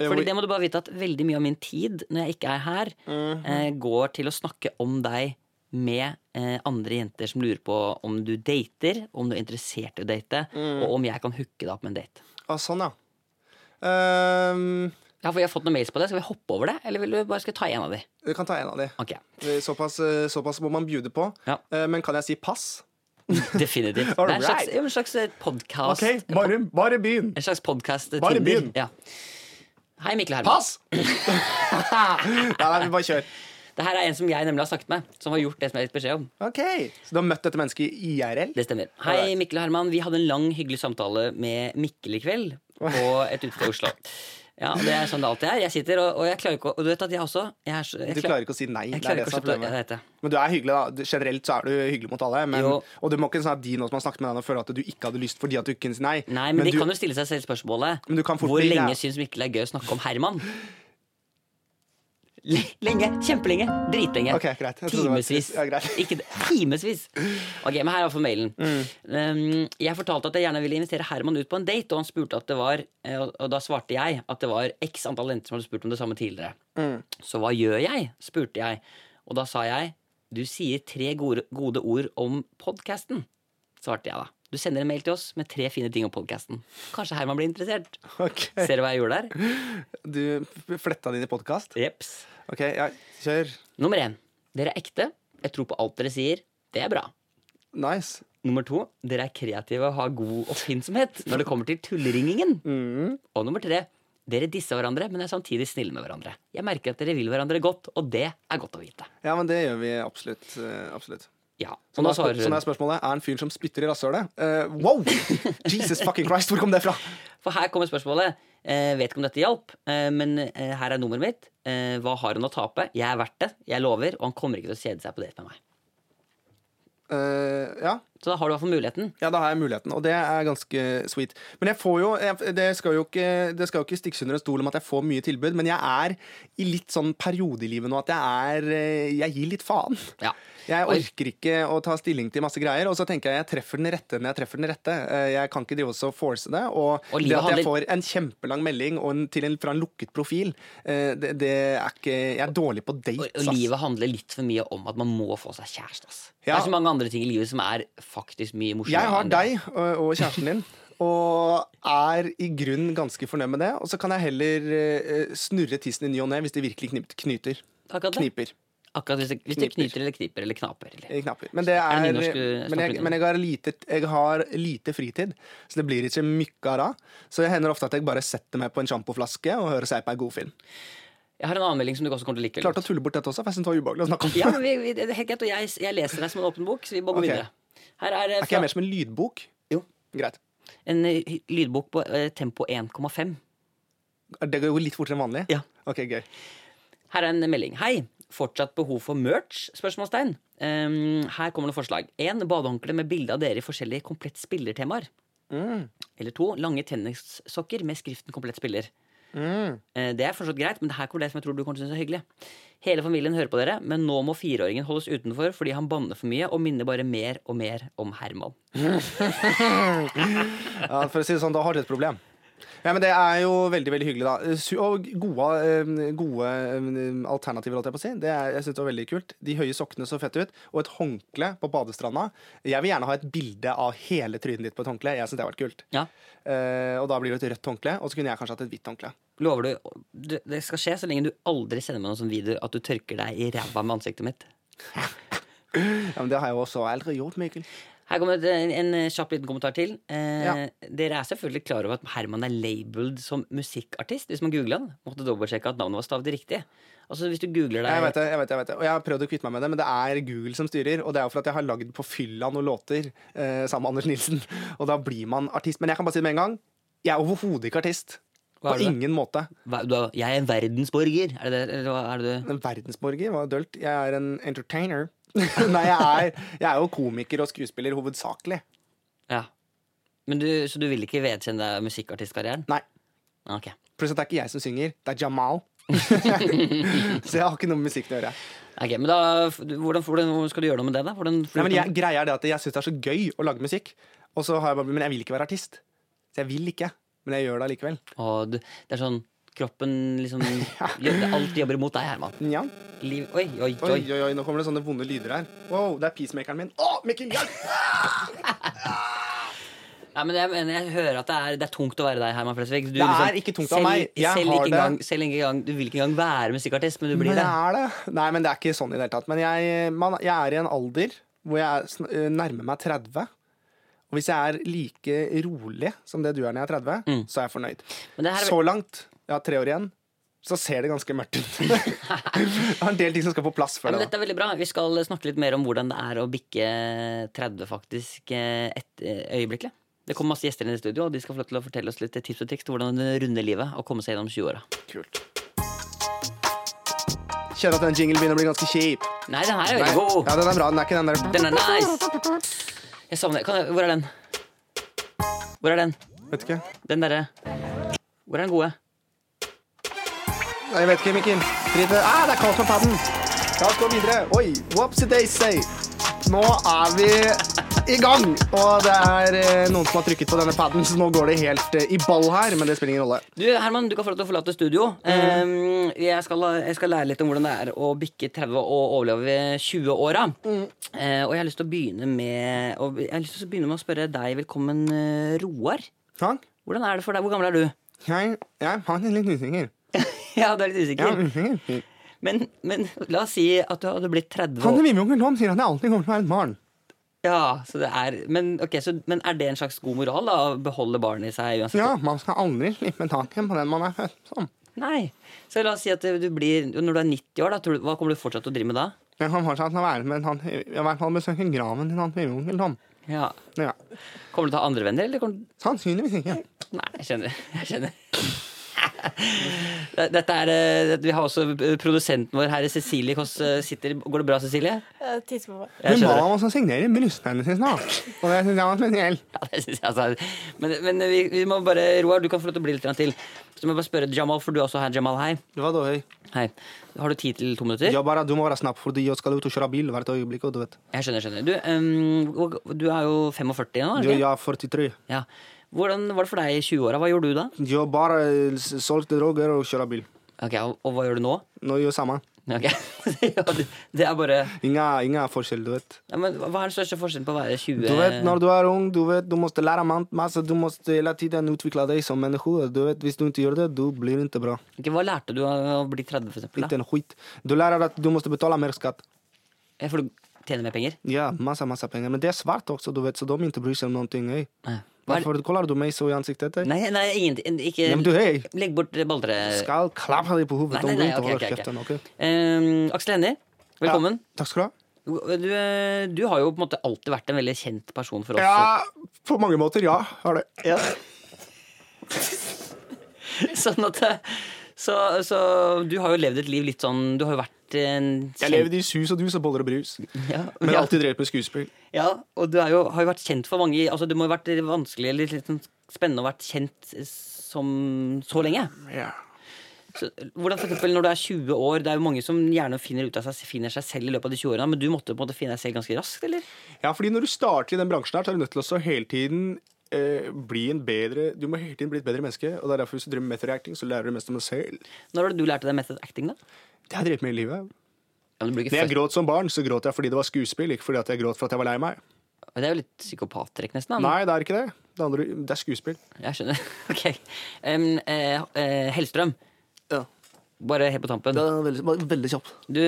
C: Fordi det må du bare vite at veldig mye av min tid når jeg ikke er her,
B: Mhm.
C: eh, går til å snakke om deg med eh, andre jenter som lurer på om du dater, om du er interessert i å date,
B: Mhm.
C: og om jeg kan hooke deg opp med en date.
B: Ah, sånn, ja. Ehm,
C: Ja, for jeg har fått noen mails på det. Skal vi hoppe over det, eller vil du bare skal jeg ta en av de?
B: du kan ta en av de.
C: Ok,
B: Såpass, eh, såpass må man bjude på.
C: Ja.
B: Eh, Men kan jeg si pass?
C: Definitivt. Det er en slags, en slags podkast.
B: bare, bare begynn.
C: En slags podkast
B: Bare
C: Tinder.
B: begynn.
C: Ja. Hei, Mikkel Herman.
B: Pass! nei, nei, vi bare kjør.
C: Det her er en som jeg nemlig har snakket med, som har gjort det som jeg har gitt beskjed om.
B: Ok, Så du har møtt dette mennesket i IRL?
C: Det stemmer. Hei, Mikkel og Herman. Vi hadde en lang, hyggelig samtale med Mikkel i kveld på et utested i Oslo. Ja, det er sånn det alltid er. Jeg sitter, og, og jeg klarer ikke å Og du vet at jeg også jeg er så, jeg
B: Du klarer ikke å si nei. det
C: jeg
B: er
C: klarer
B: det
C: ikke å
B: som er
C: slutte å-
B: problemet.
C: ja, det heter det.
B: Men du er hyggelig, da. Du- Generelt så er du hyggelig mot alle. Men,
C: Jo.
B: og du må ikke sånn at de nå som har snakket med deg, nå føler at du ikke hadde lyst fordi at du ikke kunne si nei.
C: Nei, men,
B: du,
C: de kan jo stille seg selv spørsmålet
B: Men du kan fort
C: Hvor
B: bli-
C: lenge
B: ja.
C: syns Mikkel det er gøy å snakke om Herman? Le- Lenge. Kjempelenge. Dritlenge.
B: Ok, greit. Jeg trodde det var-
C: Timevis.
B: Ja, greit. Mm,
C: Ikke det. Timevis. Ok, men her er iallfall mailen. Um, jeg fortalte at jeg gjerne ville invitere Herman ut på en date, og han spurte at det var eh, Og og da svarte jeg at det var x antall jenter som hadde spurt om det samme tidligere.
B: mm.
C: Så hva gjør jeg? spurte jeg. Og da sa jeg du sier tre gode, gode ord om podkasten, svarte jeg da. Du sender en mail til oss med tre fine ting om podkasten. Kanskje Herman blir interessert.
B: Ok.
C: Ser du hva jeg gjorde der?
B: Du fletta det inn i podkast?
C: Jeps.
B: Ok, ja, kjør.
C: Nummer én. Dere er ekte. Jeg tror på alt dere sier. Det er bra.
B: Nice.
C: Nummer to. Dere er kreative og har god oppfinnsomhet når det kommer til tulleringingen.
B: Mm.
C: Og nummer tre. Dere disser hverandre, men er samtidig snille med hverandre. Jeg merker at dere vil hverandre godt, og det er godt å vite.
B: Ja, men det gjør vi absolutt. eh, absolutt.
C: Ja,
B: Så
C: og
B: nå Sånn
C: nå
B: er spør-
C: svarer
B: så nå
C: hun.
B: er spørsmålet er en fyren som spytter i rasshølet. Eh, wow! Jesus fucking Christ, hvor kom det fra?
C: For her kommer spørsmålet. Eh, vet ikke om dette hjalp, eh, men eh, her er nummeret mitt. Eh, hva har hun å tape? Jeg er verdt det, jeg lover, og han kommer ikke til å kjede seg på date med meg.
B: Eh, ja.
C: Så da har du i hvert fall muligheten.
B: ja, da har jeg muligheten, og det er ganske sweet. Men jeg får jo jeg, Det skal jo ikke, det skal jo ikke stikkes under en stol om at jeg får mye tilbud, men jeg er i litt sånn periode i livet nå at jeg er eh, Jeg gir litt faen.
C: Ja.
B: Jeg
C: Oi.
B: orker ikke å ta stilling til masse greier, og så tenker jeg jeg treffer den rette når jeg treffer den rette. Eh, Jeg kan ikke drive også og force det. Og,
C: Og livet
B: det at jeg
C: handler-
B: får en kjempelang melding og en, til en, fra en lukket profil, eh, det, det er ikke Jeg er dårlig på
C: Og,
B: dates,
C: og livet handler litt for mye om at man må få seg kjæreste. Ass. Det
B: Ja.
C: er så mange andre ting i livet som er faktisk mye morsommere.
B: Jeg har
C: enn det.
B: deg og, og kjæresten din. Og er i grunn ganske fornøyd med det. Og så kan jeg heller eh, snurre tissen i ny og ne hvis det virkelig knip, knyter.
C: Akkurat det.
B: Kniper.
C: Akkurat hvis det, hvis det
B: Kniper.
C: knyter eller kniper eller knaper. Eller.
B: Eh, knapper. Men det er,
C: det nynorsk du
B: men,
C: snakker litt
B: jeg,
C: om?
B: men jeg, har lite, jeg har lite fritid, så det blir ikke mykka da. Så det hender ofte at jeg bare setter meg på en sjampoflaske og hører seg på en god film.
C: Jeg har en annen melding som du også kommer til å like. veldig
B: Klarte å tulle bort dette også, for jeg synes det var ubehagelig å snakke om.
C: godt. Ja, men vi, vi, det er helt greit, og jeg, jeg leser deg som en åpen bok, så vi må gå
B: Ok.
C: videre. Her er, eh,
B: Er ikke
C: fra,
B: jeg mer som en lydbok?
C: Jo.
B: Greit.
C: en eh, lydbok på eh, tempo 1,5.
B: Det går jo litt fortere enn vanlig?
C: Ja.
B: Ok, gøy.
C: Her er en melding. Hei! Fortsatt behov for merch? Spørsmålstegn. Ehm, her kommer noen forslag. En badehåndkle med bilde av dere i forskjellige komplett spillertemaer.
B: Mm.
C: Eller to lange tennissokker med skriften 'komplett spiller'.
B: Mm.
C: Eh, Det er fortsatt greit, men det her kommer det som jeg tror du kommer til å synes er hyggelig. Hele familien hører på dere, men nå må fireåringen holdes utenfor fordi han banner for mye og minner bare mer og mer om Herman.
B: Ja, for å si det sånn, da har du et problem. Ja, men Det er jo veldig veldig hyggelig, da. Su- Og gode, eh, gode eh, alternativer, holdt jeg på å si. Det er, jeg synes det var veldig kult. De høye sokkene så fette ut. Og et håndkle på badestranda. Jeg vil gjerne ha et bilde av hele trynet ditt på et håndkle. Jeg synes det hadde vært kult.
C: Ja,
B: Eh, og da blir det et rødt håndkle, og så kunne jeg kanskje hatt et hvitt håndkle.
C: Lover du du- Det skal skje så lenge du aldri sender meg noen sånn videoer at du tørker deg i ræva med ansiktet mitt.
B: Ja, men Det har jeg jo også aldri gjort, Mikkel.
C: Her kommer det en, en kjapp liten kommentar til. Eh,
B: Ja.
C: Dere er selvfølgelig klar over at Herman er labeled som musikkartist. Hvis man googler han, måtte dobbeltsjekke at navnet var stavet riktig. Altså hvis du googler
B: Jeg vet
C: deg
B: det, jeg vet det, jeg vet det. Og jeg har prøvd å kvitte meg med det, men det er Google som styrer. Og det er jo for at jeg har lagd på fylla noen låter eh, sammen med Anders Nilsen. Og da blir man artist. Men jeg kan bare si det med en gang. Jeg er overhodet ikke artist.
C: Hva er
B: På
C: du da?
B: ingen måte.
C: hva, du, er- Jeg er en verdensborger. Er det det? Eller hva er det du
B: En verdensborger var dølt. Jeg er en entertainer. Nei, jeg er, jeg er jo komiker og skuespiller hovedsakelig.
C: Ja. Men du, så du vil ikke vedkjenne deg musikkartistkarrieren?
B: Nei.
C: Ok.
B: Pluss at det er ikke jeg som synger, det er Jamal. så jeg har ikke noe med musikken å gjøre.
C: Ok, men da, f- hvordan, hvordan skal du gjøre noe med det, da? Hvordan,
B: Nei, men jeg, greia er det at jeg syns det er så gøy å lage musikk, og så har jeg bare, men jeg vil ikke være artist. Så jeg vil ikke, men jeg gjør det allikevel.
C: Og du, det er sånn Kroppen liksom Alt jobber imot deg, Herman.
B: Nja.
C: Liv, oi, oi,
B: Oi,
C: oi.
B: oi, oi, nå kommer det sånne vonde lyder her. Wow, det er peacemakeren min. Å, Mikkel, hjelp!
C: Nei, men jeg, mener, jeg hører at det er, det er tungt å være deg, Herman Flesvig. Du liksom
B: Det er ikke tungt av
C: selv,
B: meg. Jeg
C: selv,
B: har
C: ikke
B: det.
C: engang, selv ikke engang Du vil ikke engang være musikkartist, men du blir
B: Men
C: det.
B: er det. Nei, men det er ikke sånn i det hele tatt. Men jeg, man, jeg er i en alder hvor jeg er sn- eh, nærmer meg 30. Og hvis jeg er like rolig som det du er når jeg er 30, så er jeg fornøyd.
C: Men Mm. det her er-
B: Så langt, jeg har tre år igjen, så ser det ganske mørkt ut. jeg har en del ting som skal på plass
C: Ja,
B: før
C: men
B: det. da.
C: dette er veldig bra. Vi skal snakke litt mer om hvordan det er å bikke 30 faktisk eh, et eh, øyeblikkelig. Det kommer masse gjester inn i studio, og de skal få lov til å fortelle oss litt tips og triks til hvordan runde livet og komme seg gjennom 20-åra.
B: Kult. Kjenner at den jinglen begynner å bli ganske kjip.
C: Nei, den her er
B: Nei.
C: veldig god.
B: Ja, den er bra. Den er ikke den der
C: Den er nice. Jeg savner kan jeg, Hvor er den? Hvor er den?
B: Vet ikke.
C: Den derre Hvor er den gode?
B: Nei, Jeg vet ikke, Mikkel. Drit i det. Ah, det er kaldt på padden. La oss gå videre. Oi, whoopsie daisy. Nå er vi i gang, og det er eh, noen som har trykket på denne padden, så nå går det helt eh, i ball her, men det spiller ingen rolle.
C: Du, Herman, du kan få lov til å forlate studio. Eh, jeg, skal, jeg skal lære litt om hvordan det er å bikke 30 og overleve 20-åra. Eh, og jeg har lyst til å begynne med og Jeg har lyst til å begynne med å spørre deg velkommen, eh, Roar.
B: Ja,
C: Hvordan er det for deg? Hvor gammel er du?
B: jeg, jeg har en litt usikker.
C: ja, du er litt
B: Jeg
C: usikker.
B: er usikker.
C: Men, men la oss si at du hadde blitt 30
B: Han
C: år.
B: min onkel Tom sier at jeg alltid kommer til å være et barn.
C: Ja, så det er, men, ok, så, men er det en slags god moral da, å beholde barnet i seg uansett?
B: Ja, man skal aldri slippe taket på den man er født som.
C: Nei. Så la oss si at du blir, når du er 90 år, da, tror du, hva kommer du fortsatt til å drive med da?
B: Jeg kan fortsatt være med tante, i hvert fall besøke graven til tante min onkel Tom.
C: Ja.
B: Ja.
C: Kommer du til å ha andre venner, eller kommer du
B: Sannsynligvis ikke.
C: Nei, jeg skjønner. Jeg skjønner. Dette er, eh, Vi har også produsenten vår her, Cecilie Kåss. eh, Sitter. Går det bra, Cecilie?
D: Jeg tisser på meg.
C: Jeg
B: Hun ba
C: skjønner det.
B: om oss å signere brystbenet sitt snart, og det syns jeg var spesielt.
C: Ja, det synes jeg altså. Men, men vi, vi må bare, Roar, du kan få lov til å bli litt grann til. Så må jeg bare spørre Jamal, for du er også her. Jamal, hei.
B: Det var dårlig.
C: hei. Har du tid til to minutter?
B: Ja, bare du må være snabb, fordi jeg skal ut og kjøre bil hvert øyeblikk. og Du vet.
C: Jeg skjønner. skjønner. Du, ehm, hvor- du er jo 45 nå? er
B: Du,
C: du ikke?
B: jeg er 43.
C: Ja. Hvordan var det for deg i 20-åra? Hva gjorde du da?
B: Jeg bare eh, s- solgte droger og kjører bil.
C: Ok, Og, og hva gjør du nå?
B: Nå gjør jeg samme.
C: Ok. Ja, det- det er bare
B: Ingen, ingen forskjell, du vet.
C: ja, men Hva er den største forskjellen på å være 20
B: Du vet, Når du er ung, du vet, du må lære man- masse. Du må hele tiden utvikle deg som menneske. Du vet, Hvis du ikke gjør det, du blir ikke bra.
C: Ok, Hva lærte du av å bli 30, for eksempel? Da?
B: Ikke en skit. Du lærer at du må betale mer skatt.
C: Ja, For du tjener mer penger?
B: Ja, masse, masse penger. Men det er svart også, du vet, så de ikke bryr seg om noen ting. Hey.
C: Nei. Hva er-
B: Hvorfor kollar du meg så i ansiktet? Hey?
C: Nei, nei ingenting. Ikke
B: Ja, men du, hei.
C: Legg bort balltre...
B: Skal klappe deg på hodet
C: Nei,
B: om
C: nei,
B: du
C: nei,
B: ikke
C: ok,
B: holder
C: ok, ok.
B: kjeften. ok?
C: Ehm, Aksel Hennie, velkommen.
B: Ja, takk skal du ha.
C: Du, eh, du har jo på en måte alltid vært en veldig kjent person for oss.
B: Ja, på mange måter, ja. Har det.
C: Sånn at eh, så, så du har jo levd et liv litt sånn Du har jo vært en
B: Jeg levde i sus og dus og boller og brus,
C: ja,
B: men
C: ja,
B: alltid drevet med skuespill.
C: ja, og du er jo, har jo vært kjent for mange altså Det må jo ha vært vanskelig eller litt sånn spennende å ha vært kjent som, så lenge.
B: Ja.
C: Så, hvordan for eksempel Når du er 20 år, det er jo mange som gjerne finner ut av seg Finner seg selv i løpet av de 20 årene, men du måtte på en måte finne deg selv ganske raskt, eller?
B: ja, fordi når du starter i den bransjen her, så er du nødt til å så hele tiden eh, bli en bedre Du må hele tiden bli et bedre menneske, og det er derfor hvis du driver med method acting, så lærer du mest om deg selv.
C: Når var det du lærte deg method acting, da?
B: Det har jeg drevet med i livet.
C: Ja, men du ble
B: Når
C: ikke
B: jeg
C: født.
B: gråt som barn, så gråt jeg fordi det var skuespill, ikke fordi at jeg gråt for at jeg var lei meg.
C: det er jo litt psykopattrekk, nesten. Da. men-
B: Nei, det er ikke det. Det, andre, det er skuespill.
C: Jeg skjønner. Ok. Em, eh, eh, Hellstrøm,
E: Ja,
C: bare helt på tampen.
E: det er veldig, bare veldig kjapp.
C: Du,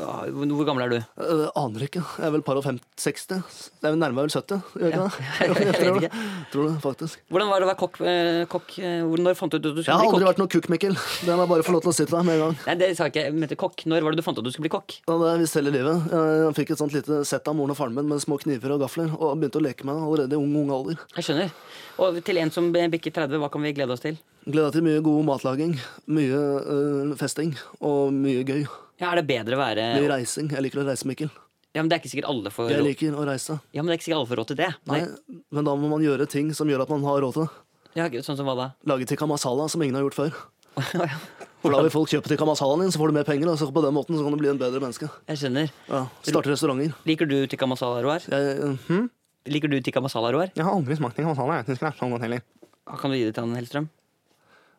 C: ah, hvor gammel er du?
E: Jeg aner ikke. Jeg er vel par og fem, 60. Jeg er vel nærmere vel 70. Gjør jeg ikke det?
C: Ja, jeg
E: tror
C: vet
E: det. Tror det, faktisk.
C: Hvordan var det å være kokk? eh, kokk? eh, hvor- Når fant du ut at du
E: Jeg
C: skulle
E: har
C: bli
E: aldri
C: kokk?
E: vært noen kukk, Mikkel. Det må jeg bare få lov til å si til deg med en gang.
C: Nei, det sa jeg ikke. Jeg mente kokk. Når var det du fant ut at du skulle bli kokk?
E: Ja, det er visst hele livet. Jeg fikk et sånt lite sett av moren og faren min med små kniver og gafler, og begynte å leke med det allerede i ung, ung alder.
C: Jeg skjønner. Og til en som bikker 30, hva kan vi glede oss til?
E: Gleder meg til mye god matlaging, mye øh, festing og mye gøy.
C: Ja, Er det bedre å
E: Mye
C: være
E: reising. Jeg liker å reise, Mikkel.
C: Ja, men Det er ikke sikkert alle får
E: Jeg
C: råd
E: liker å reise.
C: Ja, men det er ikke sikkert alle får råd til det.
E: Nei,
C: Nei.
E: men da må man gjøre ting som gjør at man har råd til det.
C: Ja, sånn som hva da?
E: Lage tikka masala som ingen har gjort før.
C: Å, ja.
E: For da vil folk kjøpe tikka masalaen din, så får du mer penger. Og så på den måten så kan du bli en bedre menneske.
C: Jeg skjønner.
E: Ja, Starte restauranter.
C: Liker du tikka masala, Roar?
E: Jeg, eh, hm?
C: Liker du tikka masala, Roar?
B: Jeg har aldri smakt en masala. Jeg syns ikke det er sånn godt heller.
C: Ja, Kan du gi det til han, Hellstrøm?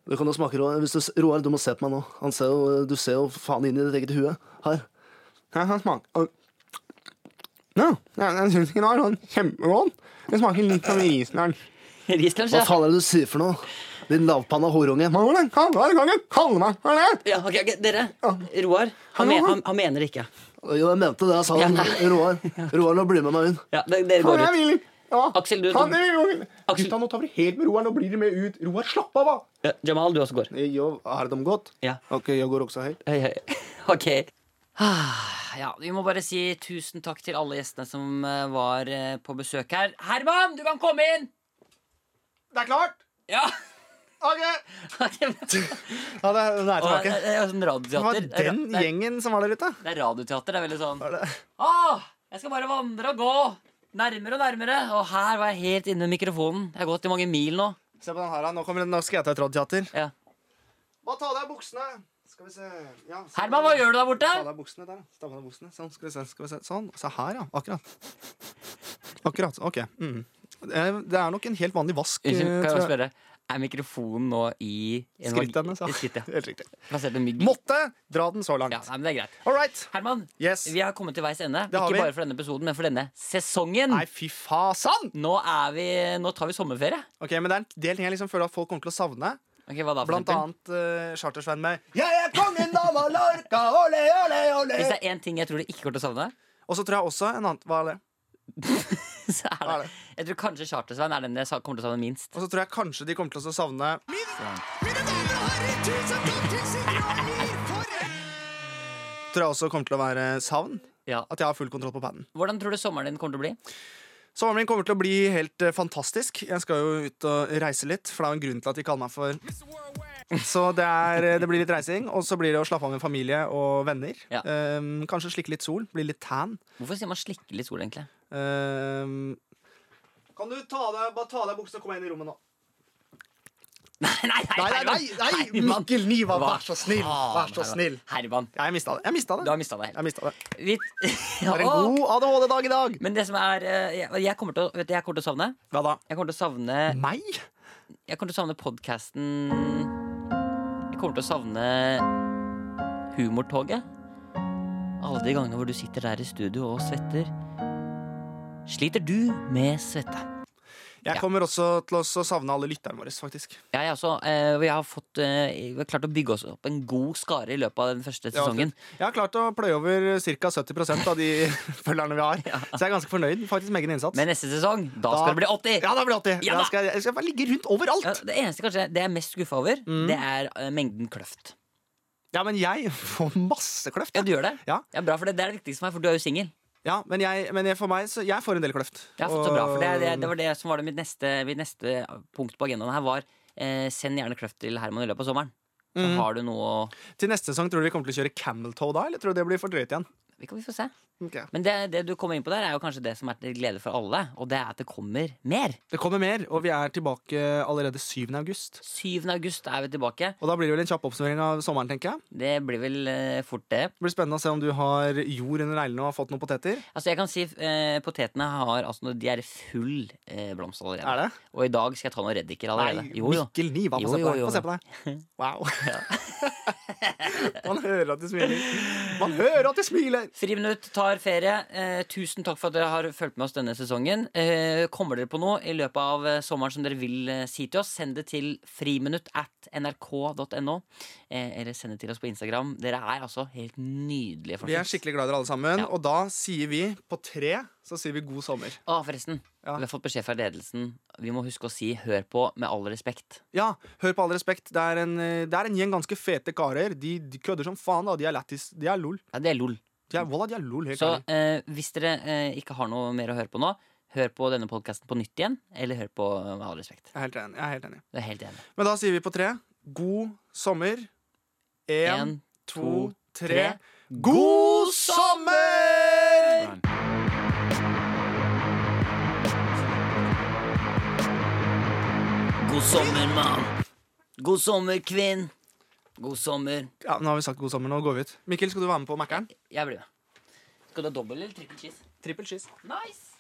E: Du kan jo smake Roar. Hvis du, s- Roar, du må se på meg nå. Han ser jo, du ser jo faen inn i ditt eget hue her.
B: Jeg kan smake Nå, jeg, jeg syns ikke den var sånn kjempegodt. Den smaker litt som Island.
C: Rislunch,
E: Hva
C: ja.
E: faen er det du sier for noe? Din lavpanna horunge.
B: Man må kan kan ikke kalle meg for det!
C: Ja, ok, ok, Dere, Roar, han, me han, han mener det ikke.
E: Jo, jeg mente det jeg sa. Roar, Roar nå bli med meg inn.
C: Ja, de- dere
B: Faen,
C: går
B: jeg
C: ut.
B: vil ikke. Ja.
C: Aksel, du-
B: Faen, jeg vil ikke.
C: Aksel-
B: Gutta, nå tar vi det helt med Roar. Nå blir det med ut. Roar, slapp av, da!
C: Ja, Jamal, du også går.
B: Jo, har de gått?
C: Ja.
B: Ok, jeg går også helt.
C: Hei, hei. Ok. Ah, Ja, vi må bare si tusen takk til alle gjestene som eh, var eh, på besøk her. Herman, du kan komme inn!
B: Det er klart!
C: Ja!
B: Ok!
C: Og,
B: Ja, det er, det er
C: det
B: tilbake.
C: er jo sånn
B: Det var
C: radioteater. Det er
B: den
C: ra- det er-
B: gjengen som var der ute.
C: Det er radioteater. Det er veldig sånn
B: det?
C: Åh, jeg skal bare vandre og gå. Nærmere og nærmere. Og her var jeg helt inne i mikrofonen. Jeg har gått i mange mil nå.
B: Se på den her, da. nå, kommer, den- nå skal jeg ta et radioteater.
C: Ja.
B: Bare ta av deg buksene. Skal vi se. Ja, så-
C: Herman, hva gjør du der borte?
B: Ta av deg buksene der, da. Ta av deg buksene. Sånn, skal vi se. Skal vi se. Sånn. Se her, ja. Akkurat. Akkurat. OK. Mm. Eh, Det er nok en helt vanlig vask. eh,
C: Unnskyld, kan jeg
B: tror
C: bare spørre? Er mikrofonen nå i en vagi-
B: Skrittet hennes, ja.
C: i skrittet?
B: Helt riktig.
C: Plassert en mygg?
B: Måtte dra den så langt.
C: Ja, nei, men det er greit.
B: All right.
C: Herman,
B: Yes.
C: vi har kommet til veis ende.
B: Det har
C: Ikke
B: vi.
C: bare for denne episoden, men for denne sesongen.
B: Nei, fy fasan!
C: Nå, er vi, nå tar vi sommerferie.
B: Ok, Men det er en del ting jeg liksom føler at folk kommer til å savne.
C: Ok, hva da, for
B: Blant
C: eksempel?
B: annet uh, Chartersveien med 'Jeg er kongen av Mallorca, ole, ole,
C: Hvis
B: ole'.
C: det er én ting jeg tror du ikke kommer til å savne,
B: Og så tror jeg også en annen Hva er det?
C: så er
B: Hva er
C: det Jeg tror kanskje Chartersveien er den jeg sa- kommer til å savne minst.
B: Og så tror jeg kanskje de kommer til å savne Tror jeg også kommer til å være savn.
C: Ja.
B: At jeg har full kontroll på paden.
C: Hvordan tror du sommeren din kommer til å bli?
B: Sommeren min kommer til å bli helt eh, fantastisk. Jeg skal jo ut og reise litt, for det er jo en grunn til at de kaller meg for Så det, er, eh, det blir litt reising, og så blir det å slappe av med familie og venner.
C: Ja.
B: Ehm, kanskje slikke litt sol, bli litt tan.
C: Hvorfor sier man slikke litt sol, egentlig?
B: Ehm, kan du ta av deg, bare ta av deg buksene og komme inn i rommet nå?
C: Nei, nei, nei!
B: Nei, nei, nei, nei,
C: Herman.
B: Mikkel Niva,
C: Hva
B: vær så snill!
C: faen,
B: Vær så
C: Herman.
B: snill.
C: Herman,
B: Jeg mista det. Jeg mista
C: du
B: det.
C: har mista deg.
B: Jeg mistet det.
C: Vi-
B: Det er en
C: Åh!
B: god ADHD-dag i dag.
C: Men det som er eh, Jeg, jeg, kommer, til å, vet du, jeg kommer til å savne
B: Hva da?
C: Jeg kommer til å savne
B: Meg?
C: Jeg kommer til å savne podkasten Jeg kommer til å savne Humortoget. Alle de gangene hvor du sitter der i studio og svetter. Sliter du med svette?
B: Jeg
C: Ja.
B: kommer også til å savne alle lytterne våre, faktisk.
C: Jeg, er også, eh, og jeg har fått eh, Vi har klart å bygge oss opp en god skare i løpet av den første
B: Ja,
C: sesongen.
B: absolutt. Jeg har klart å pløye over ca. 70 av de følgerne vi har. Så jeg er ganske fornøyd faktisk med egen innsats.
C: Men neste sesong, da, skal det bli 80!
B: Ja, da blir det 80.
C: Ja, da.
B: Jeg, skal, jeg skal bare ligge rundt overalt.
C: Ja,
B: Ja.
C: det eneste kanskje det jeg er mest skuffa over,
B: Mm.
C: det er eh, mengden kløft.
B: men jeg får masse kløft.
C: Ja, du gjør det?
B: Ja.
C: bra, for det, det er det viktigste for meg, for du er jo singel.
B: Ja, men jeg, men jeg, for meg, så jeg får en del kløft.
C: Ja, så bra, for det, det, det var det som var det mitt neste, mitt neste punkt på agendaen her. var eh, Send gjerne kløft til Herman i løpet av sommeren. Så
B: Mhm.
C: har du noe å
B: Til neste sesong, tror du vi kommer til å kjøre camel toe da, eller tror du det blir for drøyt igjen?
C: Vi kan vi få se.
B: Ok.
C: Men det, det du kommer inn på der, er jo kanskje det som er til glede for alle. Og det er at det kommer mer.
B: Det kommer mer, og vi er tilbake allerede 7. august.
C: 7. august er vi tilbake.
B: Og da blir det vel en kjapp oppsummering av sommeren, tenker jeg.
C: Det blir vel eh, fort det.
B: Det blir spennende å se om du har jord under neglene og har fått noen poteter.
C: Altså jeg kan si eh, Potetene har, altså, de er i full eh, blomst allerede.
B: Er det?
C: Og i dag skal jeg ta noen reddiker allerede.
B: Nei,
C: jo, jo.
B: Mikkel Niva, få
C: Jo,
B: se på
C: jo,
B: deg.
C: jo,
B: Få se på deg. Wow. Man hører at du smiler. Man hører at du smiler!
C: Friminutt tar ferie. Eh, tusen takk for at dere har fulgt med oss denne sesongen. Eh, kommer dere på noe i løpet av eh, sommeren som dere vil eh, si til oss, send det til friminutt at nrk.no. Eh, eller send det til oss på Instagram. Dere er altså helt nydelige.
B: Vi er
C: folkens.
B: skikkelig glad i dere alle sammen,
C: Ja.
B: og da sier vi på tre så sier vi god sommer.
C: Å, Ah, forresten.
B: Ja.
C: Vi har fått beskjed fra ledelsen. Vi må huske å si 'hør på' med all respekt.
B: Ja, hør på all respekt, det er en, eh, det er en gjeng ganske fete karer. De, de kødder som faen, da. De er lættis. De er lol.
C: Ja, det er lol.
B: De er, voilà, de er lol helt
C: Så
B: ærlig.
C: eh, hvis dere eh, ikke har noe mer å høre på nå, hør på denne podkasten på nytt igjen. Eller hør på eh, med all respekt.
B: Jeg er helt enig. Jeg er helt enig.
C: Jeg er helt enig.
B: Men da sier vi på tre god sommer. Én,
C: En,
B: to,
C: to,
B: tre.
C: tre.
B: God sommer!
C: God sommer, mann. God sommer, kvinn. God sommer.
B: Ja, Nå har vi sagt god sommer. Nå går vi ut. Mikkel, skal du være med på Mækkern?
C: Jeg blir med. Skal du ha dobbel eller trippel cheese?
B: Trippel cheese.
C: Nice!